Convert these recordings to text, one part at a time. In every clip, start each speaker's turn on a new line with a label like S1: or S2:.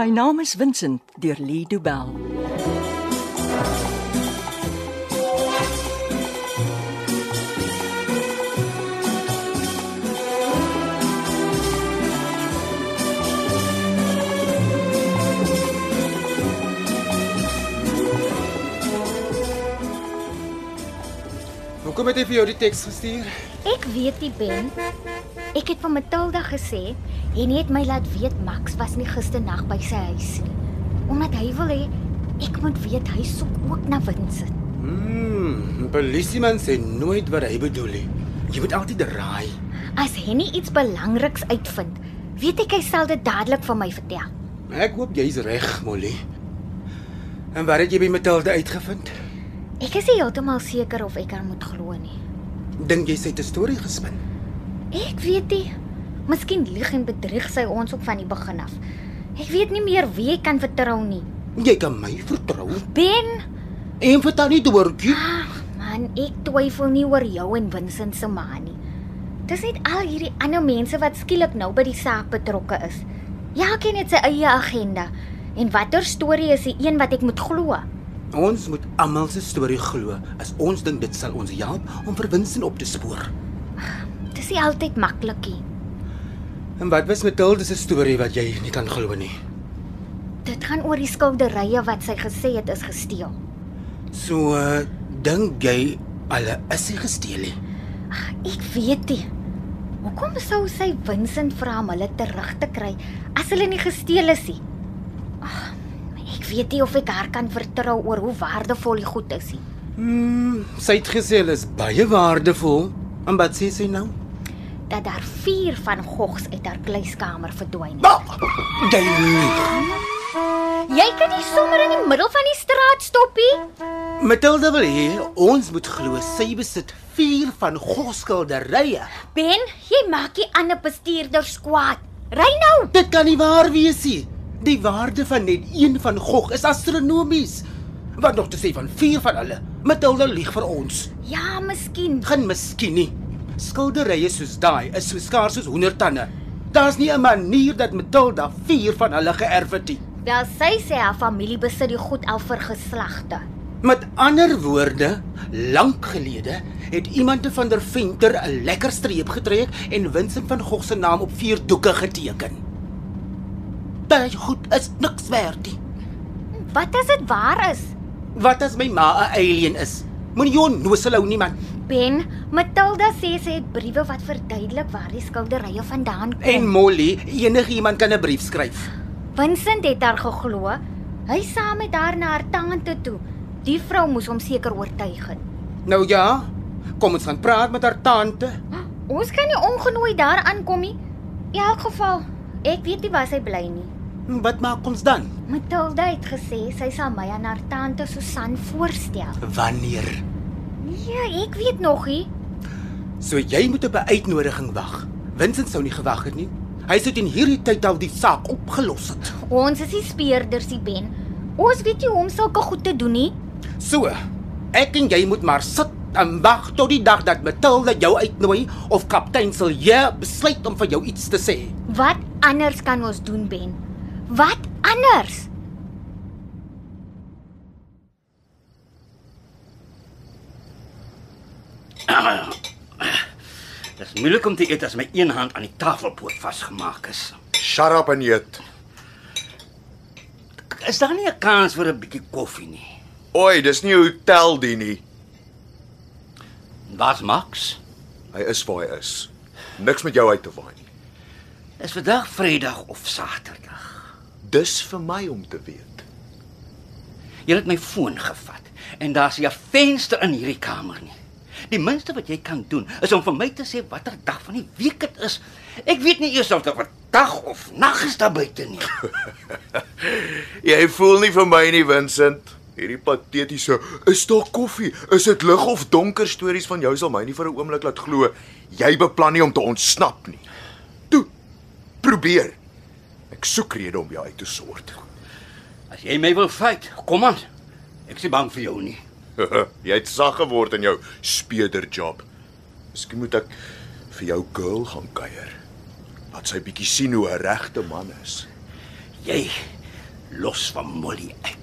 S1: My naam is Vincent deur Lee Du Bell.
S2: Hoekom het hy vir jou die teks gestuur?
S3: Ek weet nie Ben. Ek het vir Matilda gesê en hy het my laat weet Max was nie gisternag by sy huis nie. Omdat hy wil hê ek moet weet hy soek ook na Vincent.
S2: Hmm, 'n Polisieman sê nooit wat hy bedoel nie. Jy moet altyd raai.
S3: As Henny iets belangriks uitvind, weet ek hy sal dit dadelik vir my vertel.
S2: Ek hoop jy's reg, Molly. En wat het jy by Matilda uitgevind?
S3: Ek is nie heeltemal seker of ek haar moet glo nie.
S2: Dink jy sy het 'n storie gespin?
S3: Ek weet nie. Miskien lieg en bedrieg sy ons ook van die begin af. Ek weet nie meer wie ek kan vertrou nie.
S2: Jy kan my vertrou
S3: Ben,
S2: en vertel nie doortjie.
S3: Ag man, ek twyfel nie oor jou en Vincent se ma nie. Dis net al hierdie ander mense wat skielik nou by die saak betrokke is. Ja, Elkeen het sy eie agenda en watter storie is die een wat ek moet glo?
S2: Ons moet almal se storie glo as ons dink dit sal ons help om vir Vincent op te spoor.
S3: Dis nie altyd maklikie.
S2: En wat was Matilda se storie wat jy nie kan glo nie?
S3: Dit gaan oor die skilderye wat sy gesê het is gesteel.
S2: So uh, dink jy hulle is sy gesteel nie?
S3: Ek weet nie. Hoekom sou sy Vincent vra om hulle terug te kry as hulle nie gesteel is nie? Ag, ek weet nie of ek haar kan vertrou oor hoe waardevol die goed is nie.
S2: Hmm, sy het gesê hulle is baie waardevol. En wat sê sy nou?
S3: dat daar vier van Gogs uit haar kluiskamer verdwyn het.
S2: Ba! Nou, Jy lieg.
S3: Jy kan nie sommer in die middel van die straat stop nie.
S2: Matilda wil hê ons moet glo sy besit vier van goskilderye.
S3: Ben, jy maak die ander bestuurders kwaad. Ry nou.
S2: Dit kan nie waar wees nie. Die waarde van net een van Gog is astronomies. Wat nog te sê van vier van hulle? Matilda lieg vir ons.
S3: Ja, miskien.
S2: Geen miskien nie. Skilderye soos daai is so skaars soos hoendertande. Daar's nie 'n manier dat Matilda vier van hulle geërf het nie.
S3: Wel, sy sê haar familie besit die goed al vir geslagte.
S2: Met ander woorde, lank gelede het iemand van der Venter 'n lekker streep getrek en Vincent van Gogh se naam op vier doeke geteken. Daai goed is niks werd nie.
S3: Wat as dit waar is?
S2: Wat as my ma 'n alien is? Moenie jou noselou nie man.
S3: Ben, Matilda sê sy het briewe wat verduidelik waar die skilderye vandaan kom.
S2: En Molly, enigiemand kan 'n brief skryf.
S3: Vincent het haar geglo. Hy saam met haar na haar tante toe. Die vrou moes hom seker oortuig het.
S2: Nou ja, kom ons gaan praat met haar tante.
S3: Ons kan nie ongenooi daar aankom nie. In elk geval, ek weet nie waar sy bly nie.
S2: Wat maak ons dan?
S3: Matilda het gesê sy sal my aan haar tante Susan voorstel.
S2: Wanneer?
S3: Nee, ek weet nog nie.
S2: So jy moet op 'n uitnodiging wag. Vincent sou nie gewag het nie. Hy sou teen hierdie tyd al die saak opgelos het.
S3: Ons is nie speerders nie, Ben. Ons weet nie hoe om sulke goed te doen nie.
S2: So, ek en jy moet maar sit en wag tot die dag dat Matilda jou uitnooi of kaptein Silje besluit om vir jou iets te sê.
S3: Wat anders kan ons doen, Ben? Wat anders?
S4: Dit is moeilik om te eet as my een hand aan die tafelpoot vasgemaak is.
S5: Shut up and eat.
S4: Is daar nie 'n kans vir 'n bietjie koffie nie?
S5: Oei, dis nie 'n hotel die nie.
S4: Waar's Max?
S5: Hy is waar hy is. Niks met jou uit te waai nie.
S4: Is vandag Vrydag of Saterdag?
S5: Dis vir my om te weet.
S4: Jy het my foon gevat en daar's nie 'n venster in hierdie kamer nie. Die minste wat jy kan doen is om vir my te sê watter dag van die week dit is. Ek weet nie eers of dit 'n dag of nag is daar buite nie.
S5: Jy voel nie vir my nie, Vincent. Hierdie patetiese, is daar koffie? Is dit lig of donker stories van jou sal my nie vir 'n oomblik laat glo jy beplan nie om te ontsnap nie. Toe. Probeer. Ek soek rede om jou uit te sort.
S4: As jy my wil fight, kom aan. Ek is nie bang vir jou nie.
S5: jy het sag geword in jou speder job. Miskien moet ek vir jou girl gaan kuier. Laat sy bietjie sien hoe 'n regte man is.
S4: Jy los van Molly uit.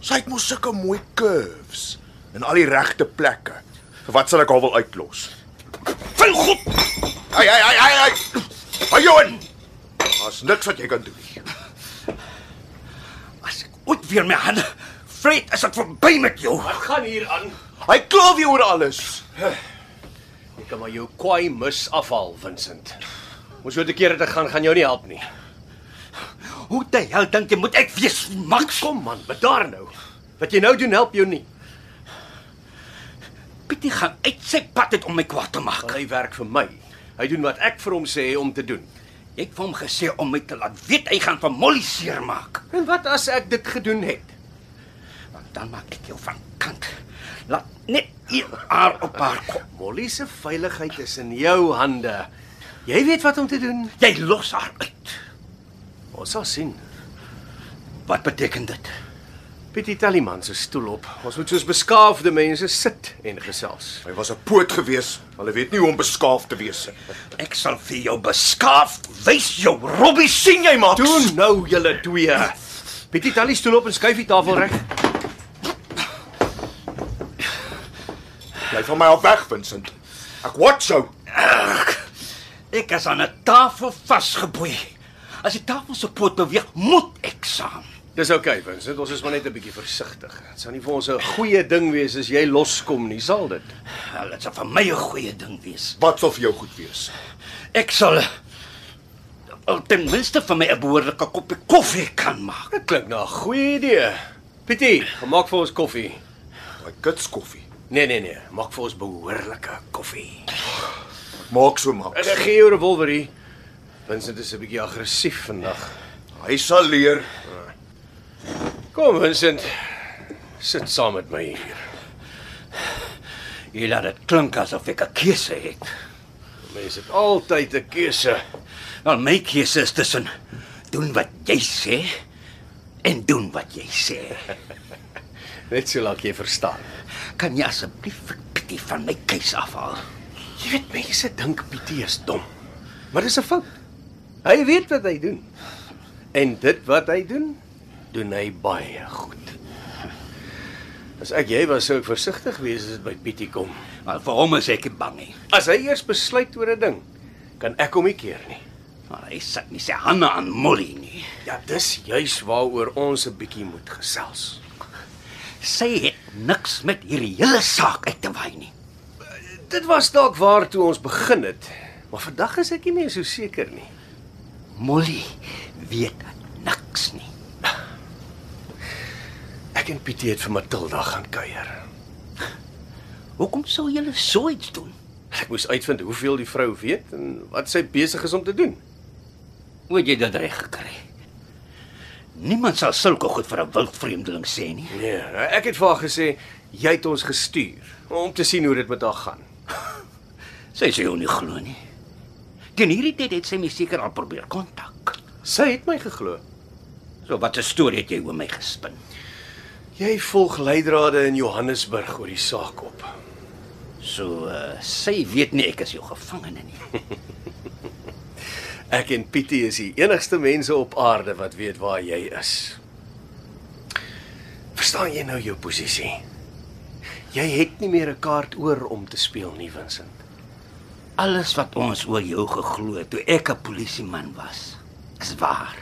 S5: Sy het mos sulke mooi curves in al die regte plekke. Wat sal ek haar wil uitlos?
S4: Vir God!
S5: Ai ai ai ai ai. Hou jou in. Daar's niks wat jy kan doen nie.
S4: As ek ooit weer my hande vreet, is dit verby met jou.
S6: Gaan hier aan.
S5: Hy kla weer oor alles.
S6: Jy kan maar jou kwaai mis afhaal, Vincent. Ons moet 'n keer te gaan gaan jou nie help nie.
S4: Hoe die hel dink jy moet ek wees, Max?
S6: Kom man, bedaar nou. Wat jy nou doen help jou nie.
S4: Pietie gaan uit sy pad uit om my kwaad te maak.
S6: Hy werk vir my. Hy doen wat ek vir hom sê om te doen.
S4: Ek het vir hom gesê om my te laat weet hy gaan van Molly seermaak.
S6: En wat as ek dit gedoen het?
S4: Want dan maak ek jou van kant. Laat net hier haar op haar kom.
S6: Molly se veiligheid is in jou hande. Jy weet wat om te doen.
S4: Jy los haar uit.
S6: Ons sal sien.
S4: Wat beteken dit?
S6: Pietie Tallyman se stoel op. Ons moet soos beskaafde mense sit en gesels.
S5: Hy was 'n poot gewees. Hulle weet nie hoe om beskaaf te wees nie.
S4: Ek sal vir jou beskaafd wys jou Robbie sien jy maar.
S6: Doen nou julle twee. Pietie Tally stoel op en skuif die tafel reg.
S5: Bly van my af weg, Vincent. Ek watch jou.
S4: Ek is aan 'n tafel vasgeboei. As die tafel se poot beweeg, moet ek saam.
S6: Dis oukei, okay, Vincent. Ons is maar net 'n bietjie versigtig. Dit sou nie vir ons 'n goeie ding wees as jy loskom nie, sal dit?
S4: Wel, dit sal vir my 'n goeie ding wees.
S5: Wat sal vir jou goed wees?
S4: Ek sal al ten minste vir my 'n behoorlike koppie koffie kan maak.
S6: Dit klink na 'n goeie idee. Pietie, gaan maak vir ons koffie.
S5: My kits koffie.
S6: Nee, nee, nee. Maak vir ons behoorlike koffie.
S5: Maak so
S6: En
S5: maak.
S6: ek gee jou 'n revolver hier. Vincent is 'n bietjie aggressief vandag.
S5: Hy sal leer.
S6: Kom, Vincent. Sit saam met my hier.
S4: Jy laat dit klink asof ek 'n keuse het.
S6: Mense het altyd 'n keuse.
S4: Wel, my keuse is tussen doen wat jy sê en doen wat jy sê.
S6: Net so laat jy verstaan.
S4: Kan jy asseblief vir Pietie van my keuse afhaal?
S6: Jy weet mense dink Pietie is dom. Maar dis 'n fout. Hy weet wat hy doen. En dit wat hy doen, doen hy baie goed. As ek jy was, sou ek versigtig wees as dit by Pietie kom.
S4: Maar vir hom is ek nie bang nie.
S6: As hy eers besluit oor 'n ding, kan ek hom nie keer nie.
S4: Maar hy sit nie sy hande aan Molly nie.
S6: Ja, dis juis waaroor ons 'n bietjie moet gesels.
S4: Sy het niks met hierdie hele saak uit te waai nie.
S6: Dit was dalk waar toe ons begin het, maar vandag is ek nie meer so seker nie.
S4: Molly weet niks nie.
S6: Ek en Pietie het vir Matilda gaan kuier.
S4: Hoekom sou julle so iets doen?
S6: Ek moes uitvind hoeveel die vrou weet en wat sy besig is om te doen.
S4: Moet jy dit reg gekry? Niemand sal sulke goed vir 'n wildvreemdeling sê nie.
S6: Nee, ek het vir haar gesê jy het ons gestuur om te sien hoe dit met haar gaan.
S4: Sy sê jou nie glo nie. Teen hierdie tyd het sy my seker al probeer kontak.
S6: Sy het my geglo.
S4: So wat 'n storie het jy oor my gespin?
S6: Jy volg leidrade in Johannesburg oor die saak op.
S4: So uh, sy weet nie ek is jou gevangene nie.
S6: Ek en Pietie is die enigste mense op aarde wat weet waar jy is. Verstaan jy nou jou posisie? Jy het nie meer 'n kaart oor om te speel nie, Vincent.
S4: Alles wat ons oor jou geglo het toe ek 'n polisieman was, is waar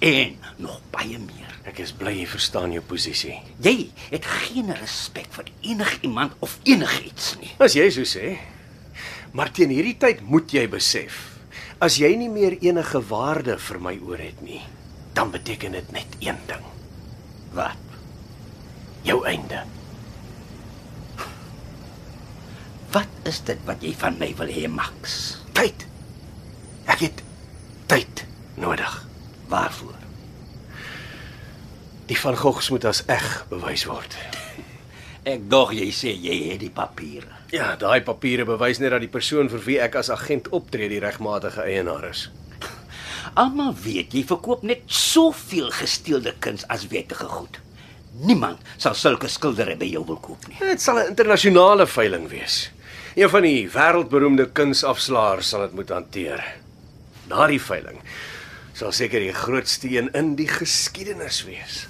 S4: en nog baie meer.
S6: Ek is bly jy verstaan jou posisie.
S4: Jy het geen respek vir enigiemand of enigiets nie.
S6: As jy so sê. Maar teen hierdie tyd moet jy besef, as jy nie meer enige waarde vir my oor het nie, dan beteken dit net een ding.
S4: Wat?
S6: Jou einde.
S4: Wat is dit wat jy van my wil hê, Max?
S6: Tyd. Ek het tyd nodig.
S4: Waarvoor?
S6: Die van Gogs moet as eg bewys word.
S4: Ek dog jy sê jy het die papiere.
S6: Ja, daai papiere bewys net dat die persoon vir wie ek as agent optree die regmatige eienaar is.
S4: Almal weet jy verkoop net soveel gesteelde kuns as wettige goed. Niemand sal sulke skildery by jou wil koop nie.
S6: Dit sal 'n internasionale veiling wees. Een van die wêreldberoemde kunsafslaers sal dit moet hanteer. Daardie veiling sal seker die grootste een in die geskiedenis wees.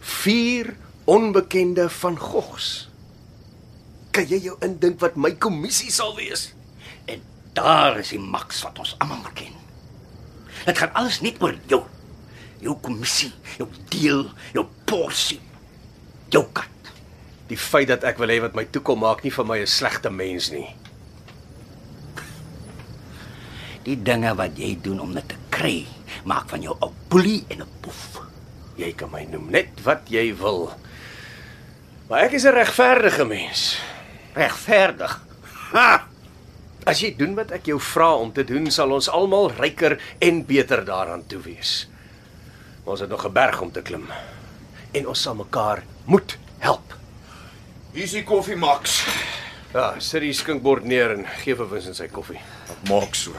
S6: Vier onbekende van Gogs. Kan jy jou indink wat my kommissie sal wees?
S4: En daar is die maks wat ons almal ken. Dit gaan alles net oor jou. Jou kommissie, jou deel, jou porsie, jou kat.
S6: Die feit dat ek wil hê wat my toekom maak nie vir my 'n slegte mens nie.
S4: Die dinge wat jy doen om dit te kry, maak van jou 'n boelie en 'n boef.
S6: Jy kan my noem net wat jy wil. Maar ek is 'n regverdige mens.
S4: Regverdig. Ha!
S6: As jy doen wat ek jou vra om te doen, sal ons almal ryker en beter daaraan toe wees. Maar Ons het nog 'n berg om te klim en ons sal mekaar moet help.
S5: Hier's die koffie, Max.
S6: Ja, sit die skinkbord neer en gee vir Wins in sy koffie.
S5: Ek maak so.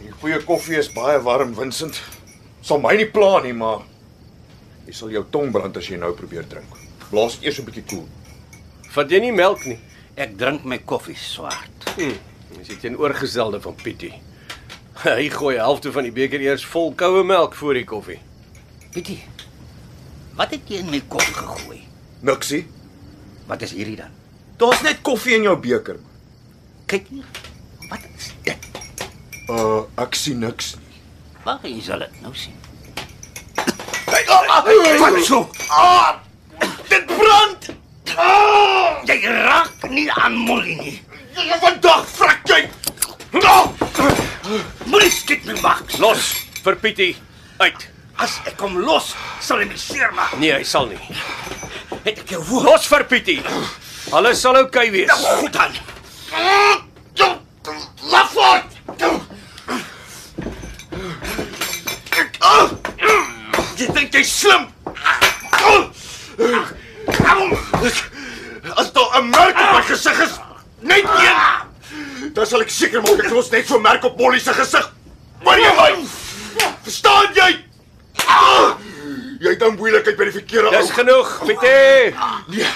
S5: Die goeie koffie is baie warm, Vincent. Sal my nie pla nie, maar jy sal jou tong brand as jy nou probeer drink. Blaas eers 'n bietjie koel.
S6: Vat jy nie melk nie?
S4: Ek drink my koffie swart.
S6: Hm, dis die teenoorgestelde van Pietie. Hy gooi helfte van die beker eers vol koue melk voor die koffie.
S4: Pietie. Wat het jy in my kop gegooi?
S5: Niksie.
S4: Wat is hierdie dan?
S5: Daar's net koffie in jou beker.
S4: Kyk hier. Wat is dit?
S5: Uh, ek sien niks nie.
S4: Wag, jy sal dit nou sien. oh,
S5: Wat so?
S4: Ah! Dit brand! Ah! Jy raak nie aan Molly nie.
S5: Vandag vrek jy.
S4: Nou! Molly skiet my maak.
S6: Los vir Pietie uit.
S4: As ek hom los, sal hy my seermaak.
S6: Nee, hy sal nie.
S4: Het ek jou woord?
S6: Los vir Pietie. Alles sal oukei okay wees.
S4: Goed dan. Laat voort. ah! Jy dink jy's slim. Kom.
S5: As daar 'n merk op my gesig is, net een. Dan sal ek seker maak ek los net so 'n merk op Molly se gesig. Hoor jy my? Verstaan jy? Ah! Jy dink moeilikheid by die verkeerde
S6: Dis genoeg, Pietie.
S5: Nee,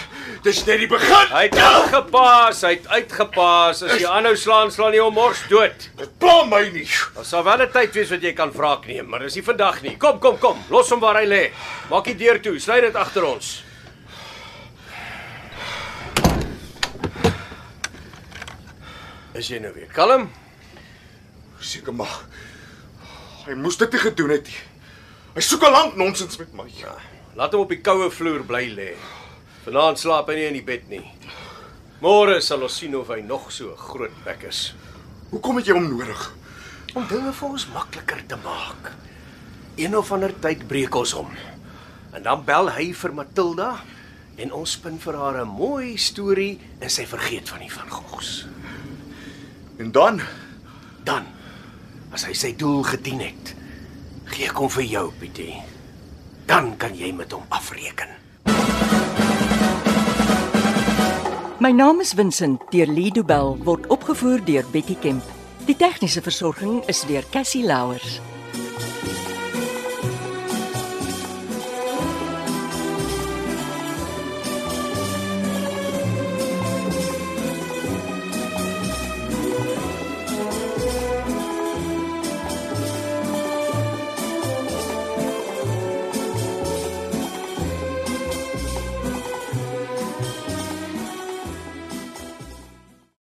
S5: dis net die begin.
S6: Hy het uitgepaas, hy het uitgepaas. As jy aanhou slaan, slaan jy hom mors dood.
S5: Dit pla my nie.
S6: Daar sal wel 'n tyd wees wat jy kan wraak neem, maar dis nie vandag nie. Kom, kom, kom. Los hom waar hy lê. Maak die deur toe. Sluit dit agter ons. Is jy nou weer kalm?
S5: Seker maar. Hy moes dit nie gedoen het nie. Hy soek al lank nonsens met my.
S6: Laat hom op die koue vloer bly lê. Vanaand slaap hy nie in die bed nie. Môre sal ons sien of hy nog so 'n groot bek is.
S5: Hoekom het jy hom nodig?
S6: om dinge vir ons makliker te maak. Een of ander tyd breek ons hom. En dan bel hy vir Matilda en ons spin vir haar 'n mooi storie en sy vergeet van die van Gogs.
S5: En dan
S6: Dan as hy sy doel gedien het, gee ek hom vir jou, Pietie. Dan kan jy met hom afreken.
S1: My naam is Vincent deur Lido Bell word opgevoer deur Betty Kemp. Die tegniese versorging is deur Cassie Louers.